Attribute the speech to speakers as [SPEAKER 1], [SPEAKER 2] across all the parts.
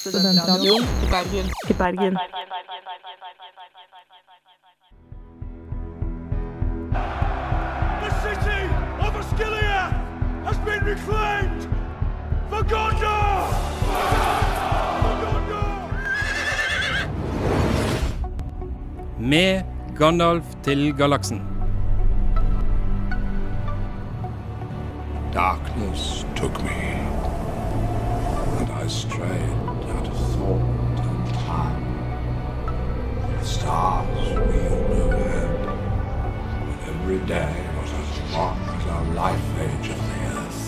[SPEAKER 1] Studentradioen i Bergen. I Bergen.
[SPEAKER 2] The city of Askelia has been reclaimed for Gondor! For Gondor!
[SPEAKER 3] Med Gandalf til galaksen.
[SPEAKER 4] Darkness took me, and I strayed out of thought and time. The stars wheeled overhead, and every day was as long as our life age of the earth.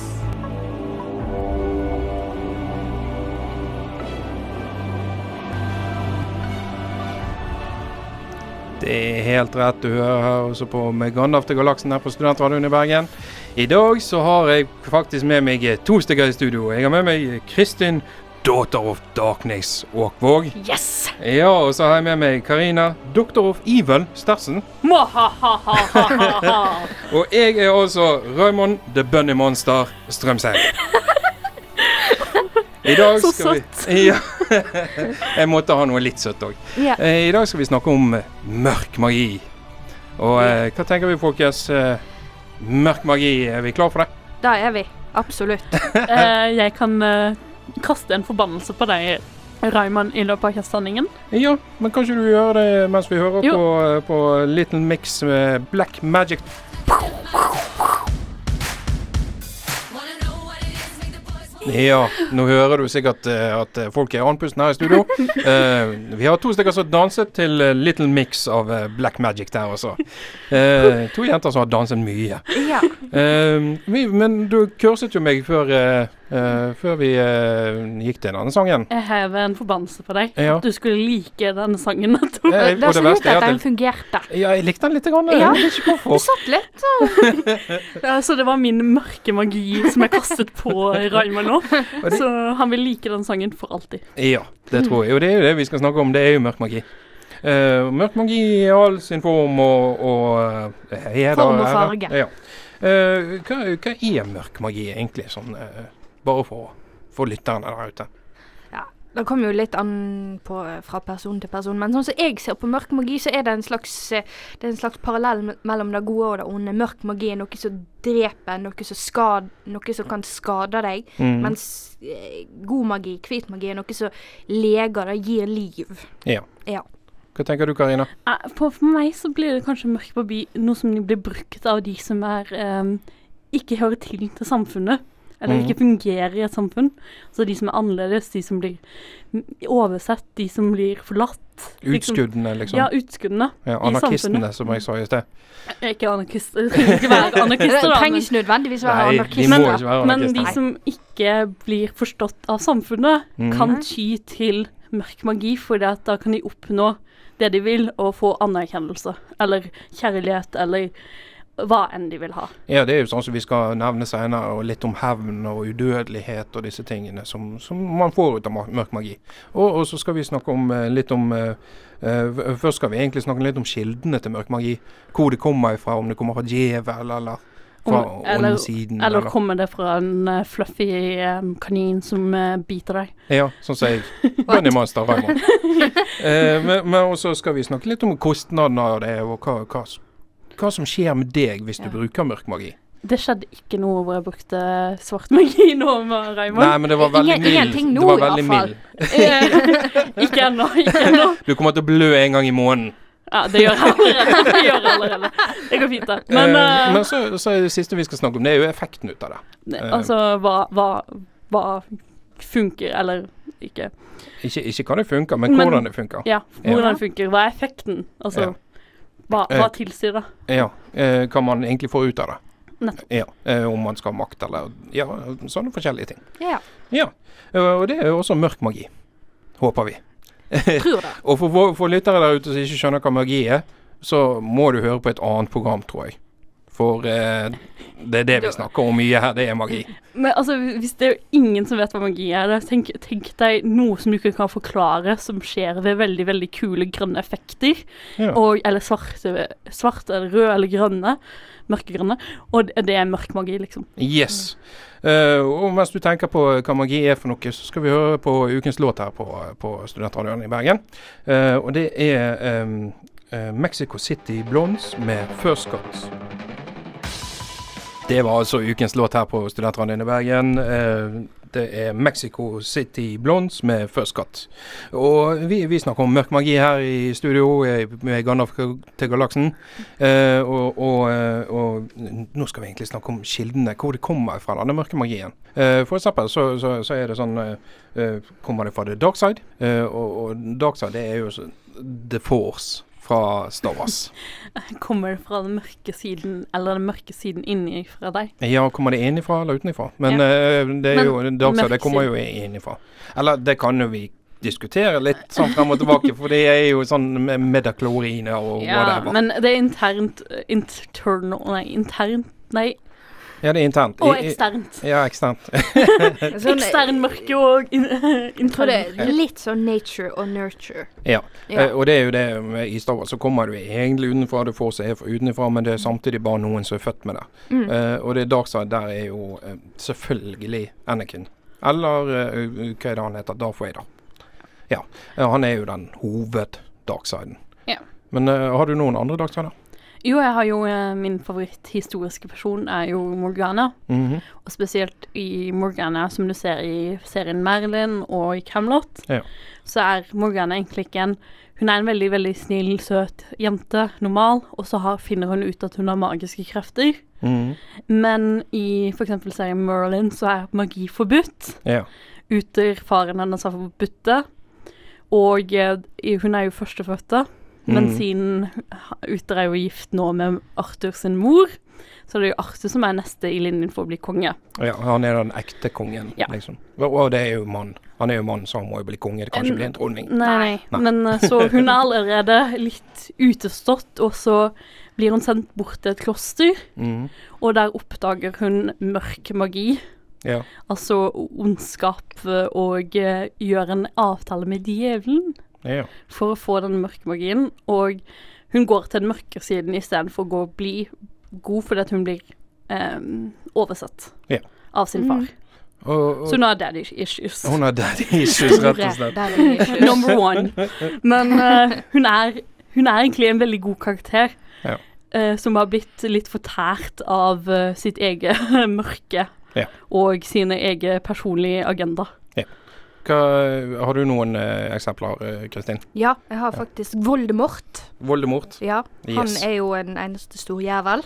[SPEAKER 3] Det er helt rett, du hører også på Med Gandalf til galaksen her på Studentradioen i Bergen. I dag så har jeg faktisk med meg to stykker i studio. Jeg har med meg Kristin, Daughter of Darkness Åkvåg.
[SPEAKER 5] Yes!
[SPEAKER 3] Ja, og så har jeg med meg Karina, Doctor of Evil Stersen.
[SPEAKER 5] Mwahahahahaha.
[SPEAKER 3] Og jeg er altså Raymond the Bunny Monster Strømsheim. I dag
[SPEAKER 5] Så
[SPEAKER 3] skal vi Ja. Jeg måtte ha noe litt søtt òg.
[SPEAKER 5] Ja.
[SPEAKER 3] I dag skal vi snakke om eh, mørk magi. Og eh, hva tenker vi, folkens? Eh, Mørk magi, er vi klar for det?
[SPEAKER 5] Da er vi. Absolutt.
[SPEAKER 6] Eh, jeg kan eh, kaste en forbannelse på deg, Raymond, i løpet av kastandingen.
[SPEAKER 3] Ja, men kanskje du gjør det mens vi hører
[SPEAKER 6] Jo.
[SPEAKER 3] på, eh, på Little Mix med Black Magic. Ja, nå hører du sikkert eh, at eh, folk er andpustne her i studio. Eh, vi har to stykker som danset til eh, Little Mix av eh, Black Magic der, altså. Eh, to jenter som har danset mye.
[SPEAKER 5] Ja.
[SPEAKER 3] Eh, vi, men du kurset jo meg før, eh, eh, før vi eh, gikk til denne sangen.
[SPEAKER 6] Jeg hever en forbannelse på deg.
[SPEAKER 3] Ja.
[SPEAKER 6] At du skulle like denne sangen. Tor.
[SPEAKER 3] Eh,
[SPEAKER 5] Det var så lurt
[SPEAKER 3] er
[SPEAKER 5] at
[SPEAKER 3] at jeg-
[SPEAKER 5] den fungerte.
[SPEAKER 3] Ja, jeg likte den litt. Grann.
[SPEAKER 5] Ja.
[SPEAKER 3] Jeg vet ikke
[SPEAKER 5] Du
[SPEAKER 3] hvorfor.
[SPEAKER 5] satt litt.
[SPEAKER 6] Ja, Så det var min mørke magi som jeg kastet på eh, Raymond nå.
[SPEAKER 3] det-
[SPEAKER 6] Så han vil like den sangen for alltid.
[SPEAKER 3] Ja, det tror jeg. Og det er jo det vi skal snakke om. Det er jo mørk magi. Eh, mørk magi i all sin form og, og eh, heder
[SPEAKER 5] Form og
[SPEAKER 3] ære.
[SPEAKER 5] farge.
[SPEAKER 3] Ja. Eh, hva, hva er mørk magi egentlig, sånn eh, bare for, for lytterne der ute?
[SPEAKER 5] Ja, det kommer jo litt an på, eh, fra person til person, men sånn som jeg ser på mørk magi, så er det en slags, eh, det er en slags parallell me- mellom det gode og det onde. Mørk magi er noe som dreper, noe som, skad, noe som kan skade deg,
[SPEAKER 3] Mm.
[SPEAKER 5] mens eh, god magi, hvit magi, er noe som leger, det gir liv.
[SPEAKER 3] Ja.
[SPEAKER 5] Ja.
[SPEAKER 3] Hva tenker du, Karina?
[SPEAKER 6] Eh, For for meg så blir det kanskje mørk magi noe som blir brukt av de som er eh, ikke hører til til samfunnet. Eller
[SPEAKER 3] Mhm.
[SPEAKER 6] ikke fungerer i et samfunn. Så de som er annerledes, de som blir mm, oversett, de som blir forlatt. liksom.
[SPEAKER 3] Utskuddene, liksom?
[SPEAKER 6] Ja, utskuddene.
[SPEAKER 3] Ja,
[SPEAKER 6] i
[SPEAKER 3] anarkistene,
[SPEAKER 6] samfunnet.
[SPEAKER 3] som jeg sa i sted.
[SPEAKER 6] Jeg er Ikke anarkister. Det trenger ikke være
[SPEAKER 5] Det
[SPEAKER 6] anarkister, da.
[SPEAKER 5] trenger ikke nødvendigvis være
[SPEAKER 3] Nei, de
[SPEAKER 5] anarkister.
[SPEAKER 3] må ikke være
[SPEAKER 6] Men, men de
[SPEAKER 3] anarkister.
[SPEAKER 6] som ikke blir forstått av samfunnet,
[SPEAKER 3] Mhm.
[SPEAKER 6] kan ty til mørk magi, fordi at da kan de oppnå det de vil, og få anerkjennelse. Eller kjærlighet, eller hva enn de vil ha.
[SPEAKER 3] Ja, det er jo sånn som vi skal nevne senere, og litt om hevn og udødelighet og disse tingene som, som man får ut av ma- mørk magi. Og, og så skal vi snakke om eh, litt om eh, eh, f- Først skal vi egentlig snakke litt om kildene til mørk magi. Hvor det kommer ifra, om det kommer fra djevel eller fra
[SPEAKER 6] Om- eller,
[SPEAKER 3] åndesiden.
[SPEAKER 6] eller kommer det fra en eh, fluffy eh, kanin som eh, biter deg?
[SPEAKER 3] Ja, sånn som jeg. Bunny Monster Raymond. Eh, men men også skal vi snakke litt om kostnadene av det, og hva, hva, s- hva som skjer med deg hvis du bruker mørk magi.
[SPEAKER 6] Det skjedde ikke noe hvor jeg brukte svart magi nå med
[SPEAKER 3] Nei,
[SPEAKER 6] Raymond. Eh,
[SPEAKER 3] men det var veldig
[SPEAKER 5] Ingen-
[SPEAKER 3] mild.
[SPEAKER 5] ingenting nå
[SPEAKER 3] det
[SPEAKER 5] i
[SPEAKER 3] var
[SPEAKER 5] hvert
[SPEAKER 3] veldig
[SPEAKER 5] fall.
[SPEAKER 3] mild.
[SPEAKER 6] ikke ennå. Ikke ennå.
[SPEAKER 3] Du kommer til å blø en gang i måneden.
[SPEAKER 6] Ja, det gjør jeg allerede. Det, gjør jeg allerede. det går fint, det. Men,
[SPEAKER 3] Eh,
[SPEAKER 6] eh,
[SPEAKER 3] men så, så er det siste vi skal snakke om, det er jo effekten ut av det.
[SPEAKER 6] Ne,
[SPEAKER 3] Eh,
[SPEAKER 6] Altså, hva, hva, hva funker, eller ikke.
[SPEAKER 3] Ikke, ikke hva det funker, men
[SPEAKER 6] Men-
[SPEAKER 3] hvordan det funker.
[SPEAKER 6] Ja,
[SPEAKER 3] Ja.
[SPEAKER 6] hvordan funker. Hva er effekten? Altså, hva,
[SPEAKER 3] Eh,
[SPEAKER 6] hva tilsier det?
[SPEAKER 3] Ja, eh, Hva man egentlig får ut av det.
[SPEAKER 6] Nettopp.
[SPEAKER 3] Ja, eh, Om man skal ha makt eller ja, sånne forskjellige ting.
[SPEAKER 5] Ja,
[SPEAKER 3] Ja, eh, Og det er jo også mørk magi. Håper vi.
[SPEAKER 5] tror det.
[SPEAKER 3] Og for, vå- for lyttere der ute som ikke skjønner hva magi er, så må du høre på et annet program, tror jeg. for eh, det er det vi snakker om mye her, det er magi.
[SPEAKER 6] Men altså, hvis det er jo ingen som vet hva magi er, da, tenk, tenk deg noe som du ikke kan forklare, som skjer ved veldig, veldig kule grønne effekter.
[SPEAKER 3] Ja.
[SPEAKER 6] Og, eller svarte, svarte, eller røde, eller grønne. Mørkegrønne. Og det- det er mørk magi, liksom.
[SPEAKER 3] Yes. Eh, og mens du tenker på hva magi er for noe, så skal vi høre på ukens låt her på, på Studentradioen i Bergen. Eh, og det er em, eh, Mexico City Blondes med First Cuts. Det var altså ukens låt her på Studentradioen i Bergen. Eh, det er Mexico City Blondes med First Cut. Og vi, vi snakker om mørk magi her i studio eh, med Gandalf til galaksen. Eh, og, og, eh, og nå skal vi egentlig snakke om kildene, hvor det kommer fra, denne mørke magien. Eh, for eksempel så, så, så er det sånn eh, eh, Kommer det fra The Dark Side? Eh, og, og Dark Side det er jo så- The Force fra Star Wars.
[SPEAKER 6] Kommer det fra den mørke siden, eller den mørke siden inni fra deg?
[SPEAKER 3] Ja, kommer det innenfra eller utenfra? Men
[SPEAKER 6] Ja.
[SPEAKER 3] eh, det er
[SPEAKER 6] Men
[SPEAKER 3] jo Dark Side det
[SPEAKER 6] mørk
[SPEAKER 3] kommer jo innenfra. Eller det kan jo vi diskutere litt sånn frem og tilbake, for det er jo sånn med medakloriner og
[SPEAKER 6] Ja,
[SPEAKER 3] whatever.
[SPEAKER 6] men det er internt internal, Nei, internt Nei,
[SPEAKER 3] Ja, det er internt.
[SPEAKER 6] og
[SPEAKER 3] I- i-
[SPEAKER 6] eksternt.
[SPEAKER 3] Ja, eksternt.
[SPEAKER 5] Sånn,
[SPEAKER 6] Ekstern mørke og in,
[SPEAKER 5] jeg tror det
[SPEAKER 6] intern.
[SPEAKER 5] er litt sånn nature og nurture.
[SPEAKER 3] Ja.
[SPEAKER 5] Ja.
[SPEAKER 3] Eh, og det er jo det med i Star Wars, så kommer du egentlig utenfra, du får seg for utenfra, men
[SPEAKER 6] Mm.
[SPEAKER 3] det er samtidig bare noen som er født med det. Eh, og det Darkside der er jo eh, selvfølgelig Anakin. Eller eh, hva er det han heter? Darth Vader. Ja. Eh, han er jo den hoved-darksiden.
[SPEAKER 6] Ja.
[SPEAKER 3] Men eh, har du noen andre darksider?
[SPEAKER 6] Jo, jeg har jo eh, min favoritthistoriske person er jo Morgana.
[SPEAKER 3] Mhm.
[SPEAKER 6] Og spesielt i Morgana, som du ser i serien Merlin og i Camelot,
[SPEAKER 3] Ja.
[SPEAKER 6] så er Morgana egentlig ikke en Hun er en veldig, veldig snill, søt jente, normal, og så har, finner hun ut at hun har magiske krefter.
[SPEAKER 3] Mhm.
[SPEAKER 6] Men i f.eks. serien Merlin så er magi forbudt.
[SPEAKER 3] Ja.
[SPEAKER 6] Uther, faren hennes, har forbudt det. Og eh, i- hun er jo førstefødte, men
[SPEAKER 3] Mhm.
[SPEAKER 6] siden Uther er jo gift nå med Arthur sin mor, så er det jo Arthur som er neste i linjen for å bli konge.
[SPEAKER 3] ja. Han er den ekte kongen,
[SPEAKER 6] Ja.
[SPEAKER 3] liksom. Og, og det er jo mann. Han er jo mann, så han må jo bli konge. Det kan ikke
[SPEAKER 6] En-
[SPEAKER 3] bli en dronning.
[SPEAKER 6] Nei, nei. men eh, så hun er allerede litt utestått, og så blir hun sendt bort til et kloster,
[SPEAKER 3] Mhm.
[SPEAKER 6] og der oppdager hun mørk magi.
[SPEAKER 3] Ja.
[SPEAKER 6] Altså ondskap og eh, gjør en avtale med djevelen
[SPEAKER 3] ja.
[SPEAKER 6] for å få den mørke magien. Og hun går til den mørke siden istedenfor å gå og bli god fordi at hun blir ehm, oversett
[SPEAKER 3] Ja.
[SPEAKER 6] av sin far.
[SPEAKER 3] Og, og,
[SPEAKER 6] Så hun har daddy issues.
[SPEAKER 3] hun har daddy issues, rett og slett.
[SPEAKER 5] Der er vi.
[SPEAKER 6] Number one. Men eh, hun, er, hun er egentlig en veldig god karakter.
[SPEAKER 3] Ja.
[SPEAKER 6] eh, som har blitt litt fortært av eh, sitt eget mørke
[SPEAKER 3] Ja.
[SPEAKER 6] og sine egne personlige agenda.
[SPEAKER 3] Hva, har du noen eh, eksempler, eh, Kristin?
[SPEAKER 5] Ja, jeg har faktisk Voldemort.
[SPEAKER 3] Voldemort?
[SPEAKER 5] Ja, han
[SPEAKER 3] Yes.
[SPEAKER 5] er jo en eneste stor jævel.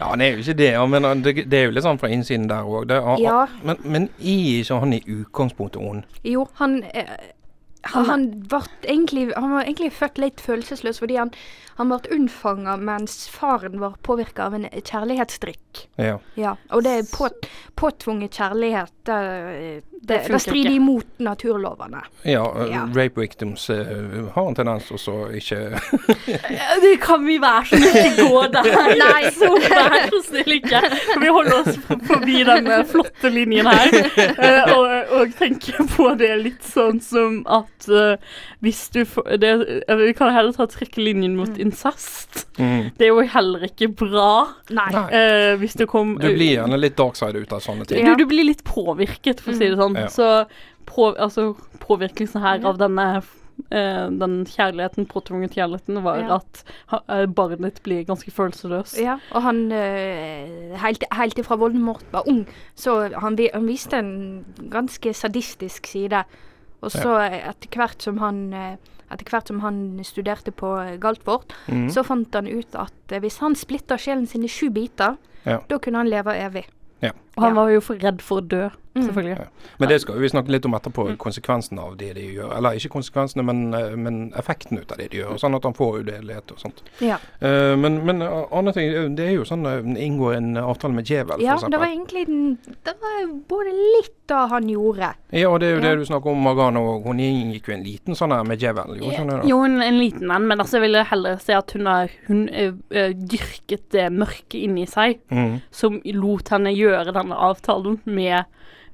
[SPEAKER 3] Ja, han er jo ikke det, ja, men han- det, det er jo litt sånn fra innsiden der òg.
[SPEAKER 5] Ja.
[SPEAKER 3] Men, men er ikke han i utgangspunktet ond?
[SPEAKER 5] Jo, han eh, han, han, var egentlig, han var egentlig født litt følelsesløs fordi han, han ble unnfanga mens faren var påvirka av en kjærlighetsdrikk.
[SPEAKER 3] Ja.
[SPEAKER 5] Ja, og det er på, påtvunget kjærlighet. eh, Det, det, det,
[SPEAKER 6] funker
[SPEAKER 5] strider
[SPEAKER 6] ikke.
[SPEAKER 5] imot naturlovene.
[SPEAKER 3] ja, eh,
[SPEAKER 5] Ja.
[SPEAKER 3] Rape victims eh, har en tendens til å ikke
[SPEAKER 6] Det kan vi være så snill ikke gå der. Nei, så vær så snill ikke. Kan vi holde oss forbi denne flotte linjen her? eh, Og, og tenke på det litt sånn som at eh, hvis du får det, eh, Vi kan heller ta trekke linjen mot incest. Det er jo heller ikke bra
[SPEAKER 5] Nei.
[SPEAKER 3] Nei.
[SPEAKER 6] eh, hvis det kom
[SPEAKER 3] Du blir gjerne litt dark side ut av sånne ting.
[SPEAKER 5] Ja.
[SPEAKER 6] du, du blir litt påvirket, for å si det sånn.
[SPEAKER 3] Ja.
[SPEAKER 6] Så på, altså, påvirkelsen her av denne eh, den kjærligheten, påtvunget kjærligheten, var
[SPEAKER 5] Ja.
[SPEAKER 6] at ha, eh, barnet ditt blir ganske følelsesløst.
[SPEAKER 5] Ja, og han eh, helt, helt ifra Voldemort var ung, så han, vi- han viste en ganske sadistisk side. Og så eh, etter hvert som han eh, etter hvert som han studerte på eh, Galtvort,
[SPEAKER 3] Mhm.
[SPEAKER 5] så fant han ut at eh, hvis han splitta sjelen sin i sju biter,
[SPEAKER 3] Ja.
[SPEAKER 5] da kunne han leve evig.
[SPEAKER 3] Ja.
[SPEAKER 6] Og han
[SPEAKER 5] Ja.
[SPEAKER 6] var jo for redd for å dø,
[SPEAKER 5] Mm.
[SPEAKER 6] selvfølgelig.
[SPEAKER 3] Men det skal vi snakke litt om etterpå, konsekvensene av det de gjør. Eller ikke konsekvensene, men, eh, men effekten ut av det de gjør. Sånn at han får udelighet og sånt.
[SPEAKER 5] Ja.
[SPEAKER 3] Eh, men men eh, annen ting, eh, det er jo sånn eh, inngår en avtale med djevel,
[SPEAKER 5] ja,
[SPEAKER 3] for
[SPEAKER 5] det var
[SPEAKER 3] eksempel.
[SPEAKER 5] egentlig den- Det var både litt da han gjorde.
[SPEAKER 3] Ja, og det er jo
[SPEAKER 5] Ja.
[SPEAKER 3] det du snakker om, Morgana. og Hun gikk jo en liten sånn her med djevel. Jo, sånn er det.
[SPEAKER 6] Jo, en, en liten en, men altså, jeg ville heller si at hun har hun, ø, ø, dyrket det mørket inni seg
[SPEAKER 3] Mm.
[SPEAKER 6] som lot henne gjøre denne avtalen med,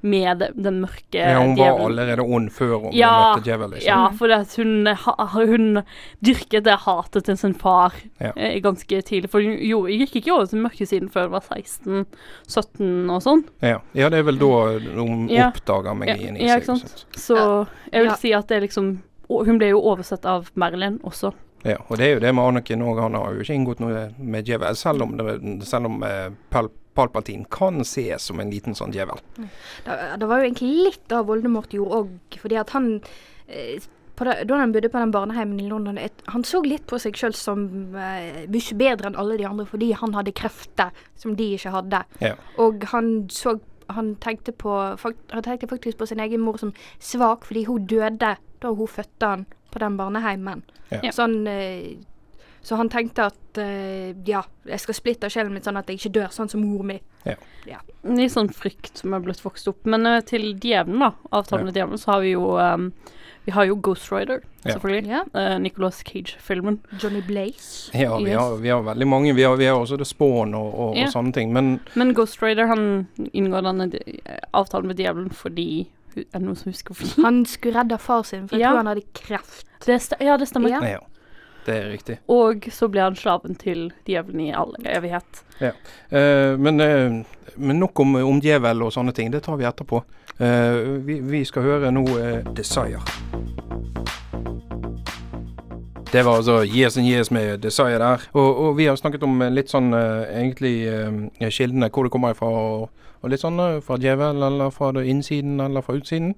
[SPEAKER 6] med det- den mørke
[SPEAKER 3] Ja, hun var
[SPEAKER 6] Eh, djevelen.
[SPEAKER 3] allerede ond før hun
[SPEAKER 6] Ja,
[SPEAKER 3] møtte djevel. Liksom.
[SPEAKER 6] Ja, for det at hun, ha- hun dyrket det hatet til sin far
[SPEAKER 3] Ja.
[SPEAKER 6] eh, ganske tidlig. For hun jo, hun gikk ikke over til mørkesiden før hun var 16-17 og sånn.
[SPEAKER 3] Ja. ja, det er vel da eh, hun
[SPEAKER 6] Ja.
[SPEAKER 3] oppdager magien
[SPEAKER 6] Ja,
[SPEAKER 3] i liksom.
[SPEAKER 6] ikke
[SPEAKER 3] seg.
[SPEAKER 6] sant?
[SPEAKER 3] sant?
[SPEAKER 6] Så
[SPEAKER 5] Ja.
[SPEAKER 6] jeg vil
[SPEAKER 5] Ja.
[SPEAKER 6] si at det er liksom og Hun ble jo oversett av Merlin også.
[SPEAKER 3] Ja, og det er jo det med Anakin òg. Han har jo ikke inngått noe med djevel, selv om, det, selv om eh, Pal Palpatine kan ses som en liten sånn djevel.
[SPEAKER 5] Det, det var jo egentlig litt av Voldemort gjorde òg, fordi at han eh, på det, Da han bodde på den barneheimen i London, et, han så litt på seg sjøl som eh, mye bedre enn alle de andre, fordi han hadde krefter som de ikke hadde.
[SPEAKER 3] Ja.
[SPEAKER 5] Og han så han tenkte, på, fak- han tenkte faktisk på sin egen mor som svak, fordi hun døde da hun fødte han på den barneheimen.
[SPEAKER 3] Ja.
[SPEAKER 6] Ja.
[SPEAKER 5] Så, han, eh, så han tenkte at eh, ja, jeg skal splitte sjelen min sånn at jeg ikke dør sånn som mor mi.
[SPEAKER 6] Litt sånn frykt som er blitt vokst opp. Men eh, til djevelen, da. Avtalen med djevelen, så har vi jo um, Vi har jo Ghost Rider,
[SPEAKER 3] Ja.
[SPEAKER 6] selvfølgelig.
[SPEAKER 5] Ja.
[SPEAKER 6] Eh, Nicolas Cage-filmen.
[SPEAKER 5] Johnny Blaze.
[SPEAKER 3] Ja, vi,
[SPEAKER 6] Yes.
[SPEAKER 3] har, vi har veldig mange. Vi har, vi har også The Spawn og, og,
[SPEAKER 6] Ja.
[SPEAKER 3] og sånne ting. Men
[SPEAKER 6] Men Ghost Rider han inngår denne de- avtalen med djevelen fordi hu- Er det noen som husker hvorfor?
[SPEAKER 5] Han skulle redde far sin, for jeg
[SPEAKER 6] Ja.
[SPEAKER 5] tror han hadde kreft.
[SPEAKER 6] Det st ja, det stemmer.
[SPEAKER 5] Ja.
[SPEAKER 3] ja. det er riktig.
[SPEAKER 6] Og så blir han slaven til djevelen i all evighet.
[SPEAKER 3] Eh, men, eh, men nok om, om djevel og sånne ting. Det tar vi etterpå. Eh, vi, vi skal høre nå eh, Desire. Det var altså Yes and Yes med Desire der. Og, og vi har snakket om eh, litt sånn eh, egentlig eh, kildene, hvor det kommer ifra. Og, og litt sånn eh, fra djevel, eller fra det innsiden, eller fra utsiden.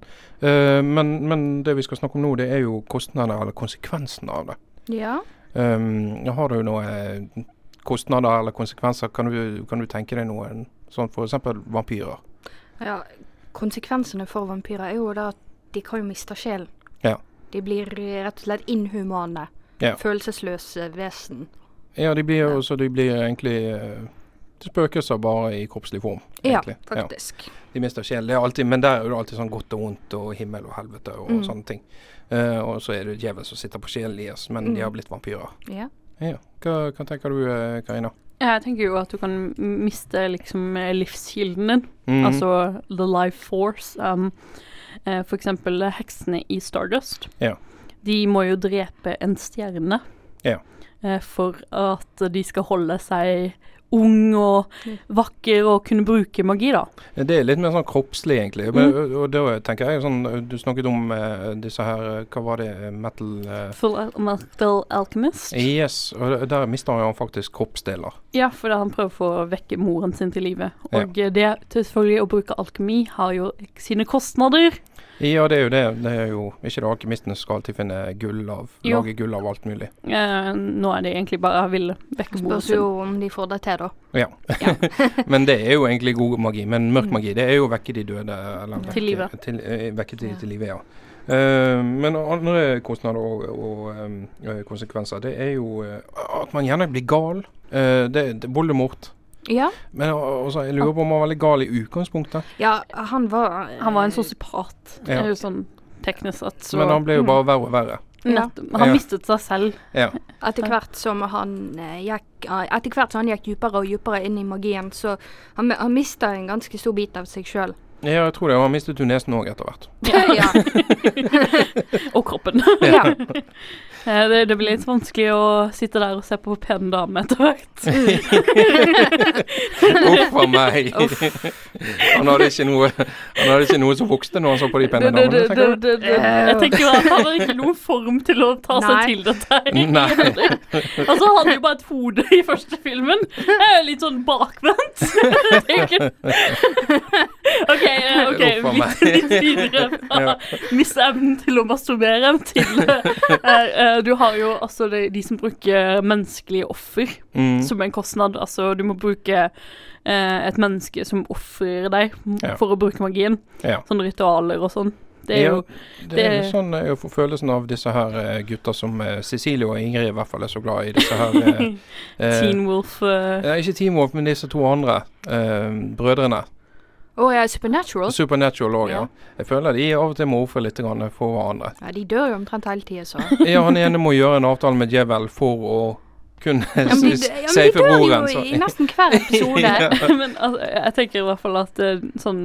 [SPEAKER 3] Eh, men, men det vi skal snakke om nå, det er jo kostnader, eller konsekvensen av det.
[SPEAKER 5] Ja.
[SPEAKER 3] Um, har du noe eh, kostnader eller konsekvenser? Kan du, kan du tenke deg noen sånn f.eks. vampyrer?
[SPEAKER 5] Konsekvensene for vampyrer er jo da at de kan jo miste sjelen.
[SPEAKER 3] Ja.
[SPEAKER 5] De blir eh, rett og slett inhumane.
[SPEAKER 3] Ja.
[SPEAKER 5] Følelsesløse vesen.
[SPEAKER 3] Ja, de blir, også, de blir egentlig eh, spøkelser bare i kroppslig form. egentlig.
[SPEAKER 5] Ja, faktisk.
[SPEAKER 3] De mister sjelen. Det er alltid, men der er det alltid sånn godt og vondt og himmel og helvete og
[SPEAKER 5] Mm.
[SPEAKER 3] sånne ting. Eh, og så er det djevelen som sitter på sjelen deres, men
[SPEAKER 5] Mm.
[SPEAKER 3] de har blitt vampyrer.
[SPEAKER 5] Ja.
[SPEAKER 3] Ja. Hva, hva tenker du, eh, Karina?
[SPEAKER 6] Jeg tenker jo at du kan m- miste liksom eh, livskilden din,
[SPEAKER 3] Mm.
[SPEAKER 6] altså the life force. Um, eh, for eksempel eh, heksene i Stardust.
[SPEAKER 3] Ja.
[SPEAKER 6] De må jo drepe en stjerne
[SPEAKER 3] Ja.
[SPEAKER 6] eh, for at de skal holde seg ung og vakker og kunne bruke magi, da.
[SPEAKER 3] Det er litt mer sånn kroppslig, egentlig. Men,
[SPEAKER 5] Mm.
[SPEAKER 3] og, og da tenker jeg sånn Du snakket om eh, disse her eh, Hva var det? Metal eh,
[SPEAKER 6] Full Al- Metal Alchemist.
[SPEAKER 3] Yes, og der- der mister han faktisk kroppsdeler.
[SPEAKER 6] Ja, fordi han prøver for å vekke moren sin til live.
[SPEAKER 3] Ja.
[SPEAKER 6] Og eh, det til selvfølgelig å bruke alkemi har jo sine kostnader.
[SPEAKER 3] Ja, det er jo det. Det er jo ikke det alkymistene skal alltid finne gull av.
[SPEAKER 6] Jo.
[SPEAKER 3] Lage gull av alt mulig.
[SPEAKER 6] Eh, nå er det egentlig bare han vil vekke moren
[SPEAKER 5] Spørs
[SPEAKER 6] sin.
[SPEAKER 5] jo om de får det til, da.
[SPEAKER 3] Ja. men det er jo egentlig god magi. Men mørk magi, det er jo vekke de døde. Eller vekke,
[SPEAKER 6] Mm. Til live.
[SPEAKER 3] Til, eh, vekke de
[SPEAKER 5] Ja.
[SPEAKER 3] til live, ja. Eh, men andre kostnader og, og eh, konsekvenser, det er jo eh, at man gjerne blir gal. Eh, det, det, Voldemort.
[SPEAKER 5] Ja.
[SPEAKER 3] Men eh, altså, jeg lurer på om han var veldig gal i utgangspunktet.
[SPEAKER 5] ja, han var eh,
[SPEAKER 6] Han var en sosiopat,
[SPEAKER 3] Ja.
[SPEAKER 6] eller sånn teknisk sett. Så mm.
[SPEAKER 3] Men han ble jo bare verre og verre.
[SPEAKER 5] Ja.
[SPEAKER 6] Nettopp. Han
[SPEAKER 3] Ja.
[SPEAKER 6] mistet seg selv.
[SPEAKER 3] Ja.
[SPEAKER 5] Etter hvert som han eh, gikk eh, Etter hvert som han gikk dypere og dypere inn i magien, så han, han mista en ganske stor bit av seg sjøl.
[SPEAKER 3] ja, jeg tror det. Og han mistet jo nesen òg etter hvert.
[SPEAKER 5] ja.
[SPEAKER 6] Og kroppen.
[SPEAKER 5] ja.
[SPEAKER 6] Eh, det, det blir litt vanskelig å sitte der og se på pene damer etter hvert.
[SPEAKER 3] Uff a meg. han, hadde ikke noe, han hadde ikke noe som vokste når han så på de pene
[SPEAKER 6] Det- det-
[SPEAKER 3] damene.
[SPEAKER 6] det-
[SPEAKER 3] tenker du?
[SPEAKER 6] det- det- Jeg tenker jo at han har ikke noen form til å ta seg
[SPEAKER 5] Nei.
[SPEAKER 6] til dette.
[SPEAKER 3] Nei.
[SPEAKER 6] Altså, han hadde jo bare et hode i første filmen. Jeg er litt sånn bakvendt. Det er ikke- OK, eh, ok,
[SPEAKER 3] Uff a av meg.
[SPEAKER 6] Videre fra miste evnen til å masturbere til eh, eh, Du har jo altså de, de som bruker menneskelige offer
[SPEAKER 3] Mm.
[SPEAKER 6] som en kostnad. Altså du må bruke eh, et menneske som ofrer deg m-
[SPEAKER 3] Ja.
[SPEAKER 6] for å bruke magien.
[SPEAKER 3] Ja.
[SPEAKER 6] Sånne ritualer og sånn. Det er
[SPEAKER 3] Ja,
[SPEAKER 6] jo
[SPEAKER 3] det er
[SPEAKER 6] det-
[SPEAKER 3] litt sånn jeg får følelsen av disse her eh, gutta som eh, Cecilie og Ingrid i hvert fall er så glad i. Disse her eh, eh,
[SPEAKER 6] Teen Wolf eh,
[SPEAKER 3] ja, Ikke Team Wolf, men disse to andre eh, brødrene.
[SPEAKER 5] Å ja, eh, Supernatural?
[SPEAKER 3] Supernatural òg, ja.
[SPEAKER 5] Ja.
[SPEAKER 3] Jeg føler de av og til må ofre litt grann for hverandre.
[SPEAKER 5] Ja, de dør jo omtrent hele tida, så.
[SPEAKER 3] Ja, han ene må gjøre en avtale med djevel for å kunne
[SPEAKER 5] Ja, men de,
[SPEAKER 3] s-
[SPEAKER 5] ja, men de
[SPEAKER 3] safe broren.
[SPEAKER 5] dør
[SPEAKER 3] så-
[SPEAKER 5] jo i nesten hver episode.
[SPEAKER 3] Ja.
[SPEAKER 6] Men altså, jeg tenker i hvert fall at eh, sånn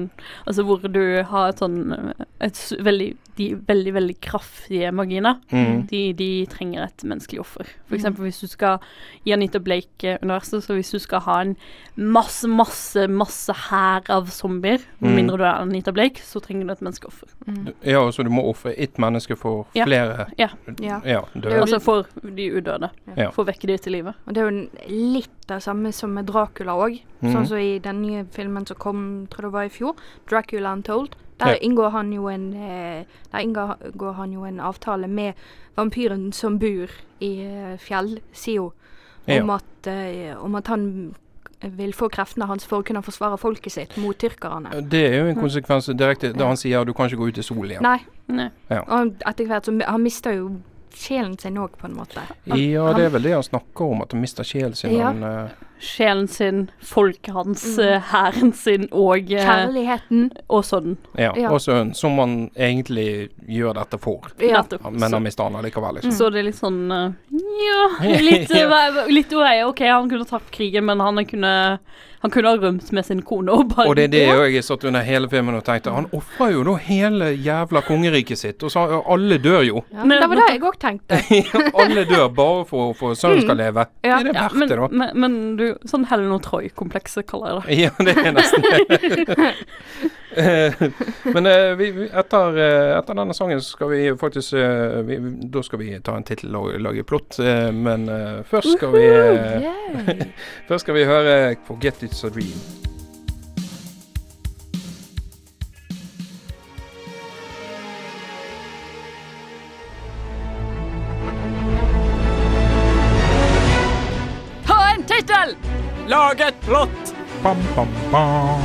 [SPEAKER 6] Altså hvor du har et sånn eh, et s- veldig, De veldig, veldig kraftige marginer.
[SPEAKER 3] Mm.
[SPEAKER 6] De, de trenger et menneskelig offer. For eksempel hvis du skal I Anita Blake-universet, så hvis du skal ha en masse, masse, masse hær av zombier, med
[SPEAKER 3] Mm.
[SPEAKER 6] mindre du er Anita Blake, så trenger du et menneskeoffer.
[SPEAKER 3] Ja, så du må ofre ett menneske for
[SPEAKER 6] Ja.
[SPEAKER 3] flere
[SPEAKER 6] Ja.
[SPEAKER 5] Ja.
[SPEAKER 3] ja, døde.
[SPEAKER 6] Altså for de udøde.
[SPEAKER 3] Ja.
[SPEAKER 6] For å vekke de til live.
[SPEAKER 5] Og det er jo litt det samme som med Dracula òg.
[SPEAKER 3] Mhm.
[SPEAKER 5] Sånn som i den nye filmen som kom, tror jeg det var i fjor, 'Dracula Untold'. Der
[SPEAKER 3] Ja.
[SPEAKER 5] inngår han jo en eh, Der inngår han jo en avtale med vampyren som bor i eh, fjell, Sio, om,
[SPEAKER 3] Ja.
[SPEAKER 5] at, eh, om at han vil få kreftene hans for å kunne forsvare folket sitt mot tyrkerne.
[SPEAKER 3] Det er jo en konsekvens direkte da han sier du kan ikke gå ut i solen igjen.
[SPEAKER 5] Nei,
[SPEAKER 6] Nei.
[SPEAKER 5] og han- etter hvert så Han mister jo sjelen sin òg, på en måte.
[SPEAKER 3] Ja, det er vel det han snakker om, at han mister sjelen sin.
[SPEAKER 5] Ja.
[SPEAKER 3] Han, eh,
[SPEAKER 6] Sjelen sin, folket hans, eh, hæren sin og, eh,
[SPEAKER 5] Kjærligheten.
[SPEAKER 6] og sønnen.
[SPEAKER 3] ja.
[SPEAKER 5] Ja.
[SPEAKER 3] Og sønnen, som han egentlig gjør dette for.
[SPEAKER 5] Ja.
[SPEAKER 6] Nettopp.
[SPEAKER 3] Ja, Men han mister han allikevel, liksom.
[SPEAKER 6] Så det er litt sånn eh, Ja, litt, eh, vei- litt vei. OK, han kunne tapt krigen, men han kunne, han kunne ha rømt med sin kone og bare
[SPEAKER 3] Og det er det jeg også satt under hele filmen og tenkte. Han ofrer jo da hele jævla kongeriket sitt. Og så og alle dør jo.
[SPEAKER 5] Ja, det var det jeg òg tenkte.
[SPEAKER 3] alle dør bare for for at sønnen skal leve.
[SPEAKER 5] Ja.
[SPEAKER 3] Er det
[SPEAKER 6] Ja,
[SPEAKER 3] verdt
[SPEAKER 6] men,
[SPEAKER 3] det, da?
[SPEAKER 6] men, men du, sånn Helen og Troy-komplekset kaller jeg det.
[SPEAKER 3] Ja, det er nesten det. Eh, Men eh, vi, vi- etter, eh, etter denne sangen så skal vi faktisk eh, vi, vi- Da skal vi ta en tittel og lage plott. eh, Men eh, først skal vi eh, Først skal vi høre 'Forget It's A Dream'.
[SPEAKER 7] Ta en tittel!
[SPEAKER 8] Lag et plott!
[SPEAKER 3] Bam, bam, bam.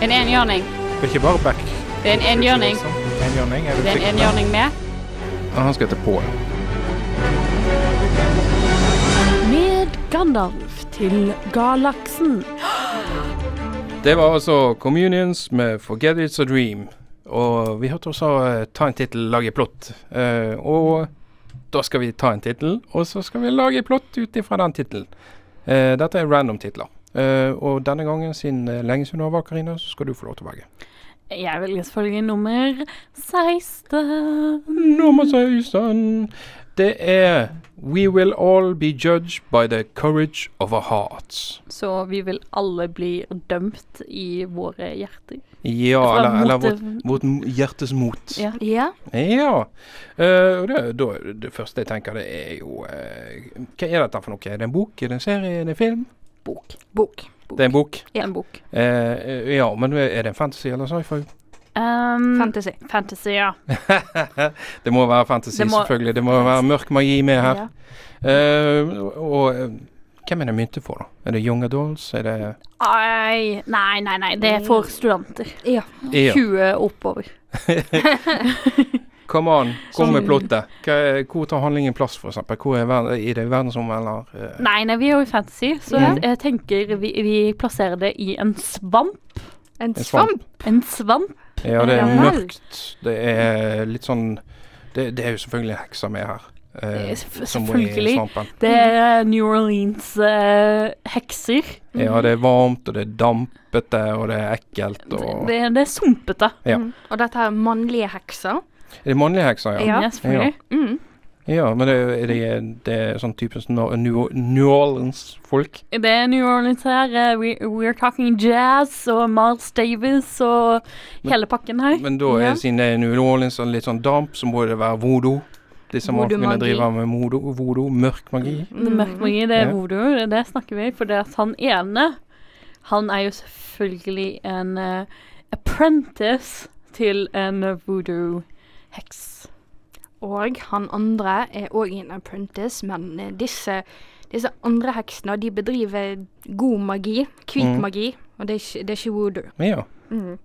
[SPEAKER 7] En enhjørning.
[SPEAKER 3] Det er ikke bare back.
[SPEAKER 7] Det er en enhjørning.
[SPEAKER 3] Enhjørning, er det
[SPEAKER 7] Det er en
[SPEAKER 3] riktig?
[SPEAKER 7] enhjørning med.
[SPEAKER 3] Ja, Han skal hete Pål.
[SPEAKER 6] Med Gandalf til galaksen.
[SPEAKER 3] Det var altså Communions med 'Forget It's A Dream'. Og vi hørte også eh, 'Ta en tittel, lage plott'. Eh, og da skal vi ta en tittel, og så skal vi lage plott ut ifra den tittelen. Eh, dette er random titler. Eh, og denne gangen, siden det er lenge siden du har vært Karina, så skal du få lov til å velge.
[SPEAKER 6] Jeg velger selvfølgelig nummer 16.
[SPEAKER 3] Nummer 16. Det er 'We Will All Be Judged by the Courage of Our Hearts'.
[SPEAKER 6] Så vi vil alle bli dømt i våre hjerter.
[SPEAKER 3] Ja,
[SPEAKER 6] Fra
[SPEAKER 3] eller, eller vårt,
[SPEAKER 6] motet-
[SPEAKER 3] vårt hjertes mot.
[SPEAKER 6] Ja.
[SPEAKER 5] Ja.
[SPEAKER 3] Ja. Eh, og det, da, det første jeg tenker, det er jo eh, Hva er dette for noe? Er det en bok? Er det en serie? Er det en film?
[SPEAKER 6] Bok.
[SPEAKER 5] Bok.
[SPEAKER 3] Det er en bok.
[SPEAKER 6] En bok.
[SPEAKER 3] Eh, eh, ja, men er det en fantasy eller sci-fi?
[SPEAKER 6] Um,
[SPEAKER 7] Ehm,
[SPEAKER 5] Fantasy.
[SPEAKER 6] fantasy, ja.
[SPEAKER 3] det må være fantasy,
[SPEAKER 6] Det må-
[SPEAKER 3] selvfølgelig. Det må være mørk magi med her.
[SPEAKER 5] Ja.
[SPEAKER 3] Eh, og- og eh, hvem er det myntet for, da? Er det Young Adults? Er det
[SPEAKER 6] Ai, nei, nei, nei. Det er for studenter.
[SPEAKER 3] Ja.
[SPEAKER 6] 20 oppover.
[SPEAKER 3] Come on, kom med plottet. Hva er- Hvor tar handlingen plass, for eksempel? Hvor er verden, I det verdensrommet, eller? eh,
[SPEAKER 6] Nei, nei, vi er jo i fantasy, så
[SPEAKER 5] Ja.
[SPEAKER 3] Mm.
[SPEAKER 6] jeg, jeg tenker vi, vi plasserer det i en svamp.
[SPEAKER 5] En
[SPEAKER 3] en
[SPEAKER 5] svamp.
[SPEAKER 6] En svamp?
[SPEAKER 3] Ja, det er
[SPEAKER 5] Ja vel.
[SPEAKER 3] mørkt. Det er litt sånn Det, det er jo selvfølgelig hekser med her. eh,
[SPEAKER 6] Eh, sef-
[SPEAKER 3] som bor
[SPEAKER 6] selvfølgelig.
[SPEAKER 3] I svampen.
[SPEAKER 6] Det er New Orleans eh, hekser.
[SPEAKER 3] Ja, det er varmt, og det er dampete, og det er ekkelt. Og
[SPEAKER 6] Det, det er sumpete.
[SPEAKER 3] Ja.
[SPEAKER 5] Og dette her er mannlige hekser.
[SPEAKER 3] Er det mannlige hekser, ja?
[SPEAKER 5] Ja.
[SPEAKER 6] Ja, selvfølgelig.
[SPEAKER 5] Mm.
[SPEAKER 3] Ja, men det, er det, det er sånn typisk Nor- New, New Orleans-folk.
[SPEAKER 6] Det er New Orleans her. eh, we, we're talking jazz og Miles Davis og
[SPEAKER 3] Men-
[SPEAKER 6] hele pakken her.
[SPEAKER 3] Men da,
[SPEAKER 5] Ja.
[SPEAKER 3] er, siden det er New Orleans og litt sånn damp, så må det være voodoo. Disse
[SPEAKER 5] Voodoo-magi.
[SPEAKER 3] folkene driver med voodoo, voodoo, mørk magi.
[SPEAKER 6] Det Mørk magi, det er
[SPEAKER 3] Ja.
[SPEAKER 6] voodoo, det, det snakker vi. For det at han ene, han er jo selvfølgelig en eh, apprentice til en voodoo-heks.
[SPEAKER 5] Og han andre er òg en apprentice, men eh, disse, disse andre heksene de bedriver god magi, hvit
[SPEAKER 3] Mm.
[SPEAKER 5] magi, og det er ikke, det er ikke voodoo.
[SPEAKER 3] Ja.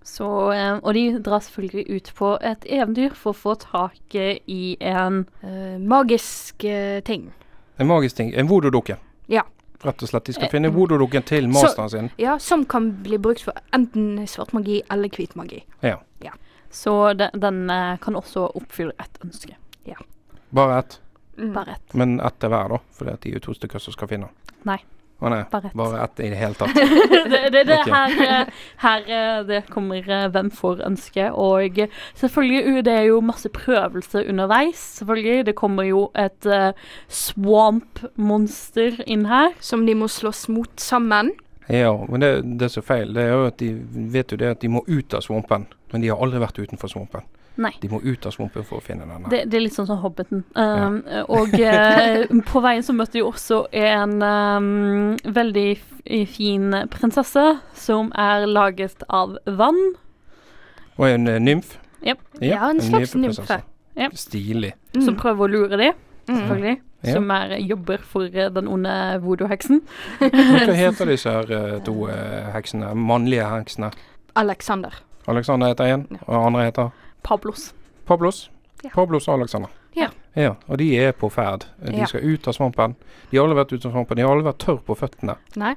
[SPEAKER 6] Så, eh, og de drar selvfølgelig ut på et eventyr for å få tak eh, i en
[SPEAKER 5] Eh, magisk eh, ting.
[SPEAKER 3] En magisk ting. En voodoo-dukke.
[SPEAKER 5] Ja. Eh, mm.
[SPEAKER 3] Rett og slett. De skal finne voodoo-dukken til masteren sin.
[SPEAKER 5] ja. Som kan bli brukt for enten svart magi eller hvit magi.
[SPEAKER 3] Ja.
[SPEAKER 6] Så de, den eh, kan også oppfylle et ønske.
[SPEAKER 3] Bare ett.
[SPEAKER 6] Bare ett.
[SPEAKER 3] Men ett til hver, da. Fordi at de er jo to stykker som skal finne den.
[SPEAKER 6] Nei.
[SPEAKER 3] Å nei.
[SPEAKER 6] Bare ett.
[SPEAKER 3] Bare ett i det hele tatt.
[SPEAKER 6] Det er det, det
[SPEAKER 3] Ok.
[SPEAKER 6] her, eh, her eh, det kommer eh, hvem får ønske. Og eh, selvfølgelig, u- det er jo masse prøvelser underveis. Selvfølgelig. Det kommer jo et eh, swamp-monster inn her.
[SPEAKER 5] Som de må slåss mot sammen.
[SPEAKER 3] Ja, men det, det som er feil, det er jo at de vet jo det at de må ut av svampen. Men de har aldri vært utenfor svampen.
[SPEAKER 6] Nei.
[SPEAKER 3] De må ut av svampen for å finne denne.
[SPEAKER 6] Det, det er litt sånn som Hobbiten. Um, Og eh, på veien så møtte de også en um, veldig f- fin prinsesse som er laget av vann.
[SPEAKER 3] Og en eh, nymf.
[SPEAKER 6] Japp.
[SPEAKER 5] Ja, en slags
[SPEAKER 3] nypeprinsesse.
[SPEAKER 5] nymfe.
[SPEAKER 6] Ja.
[SPEAKER 3] Stilig.
[SPEAKER 6] som prøver å lure dem, selvfølgelig.
[SPEAKER 3] Ja.
[SPEAKER 6] Som er, jobber for eh, den onde voodoo-heksen.
[SPEAKER 3] Men hva heter disse her eh, to eh, heksene? Mannlige heksene.
[SPEAKER 5] Alexander.
[SPEAKER 3] Alexander heter én, og den andre heter
[SPEAKER 6] Pablos.
[SPEAKER 3] Pablos.
[SPEAKER 5] Ja.
[SPEAKER 3] Pablos og Alexander.
[SPEAKER 5] Ja.
[SPEAKER 3] ja. Og de er på ferd. De
[SPEAKER 5] Ja.
[SPEAKER 3] skal ut av svampen. De har aldri vært ute av svampen. De har aldri vært tørr på føttene.
[SPEAKER 5] Nei.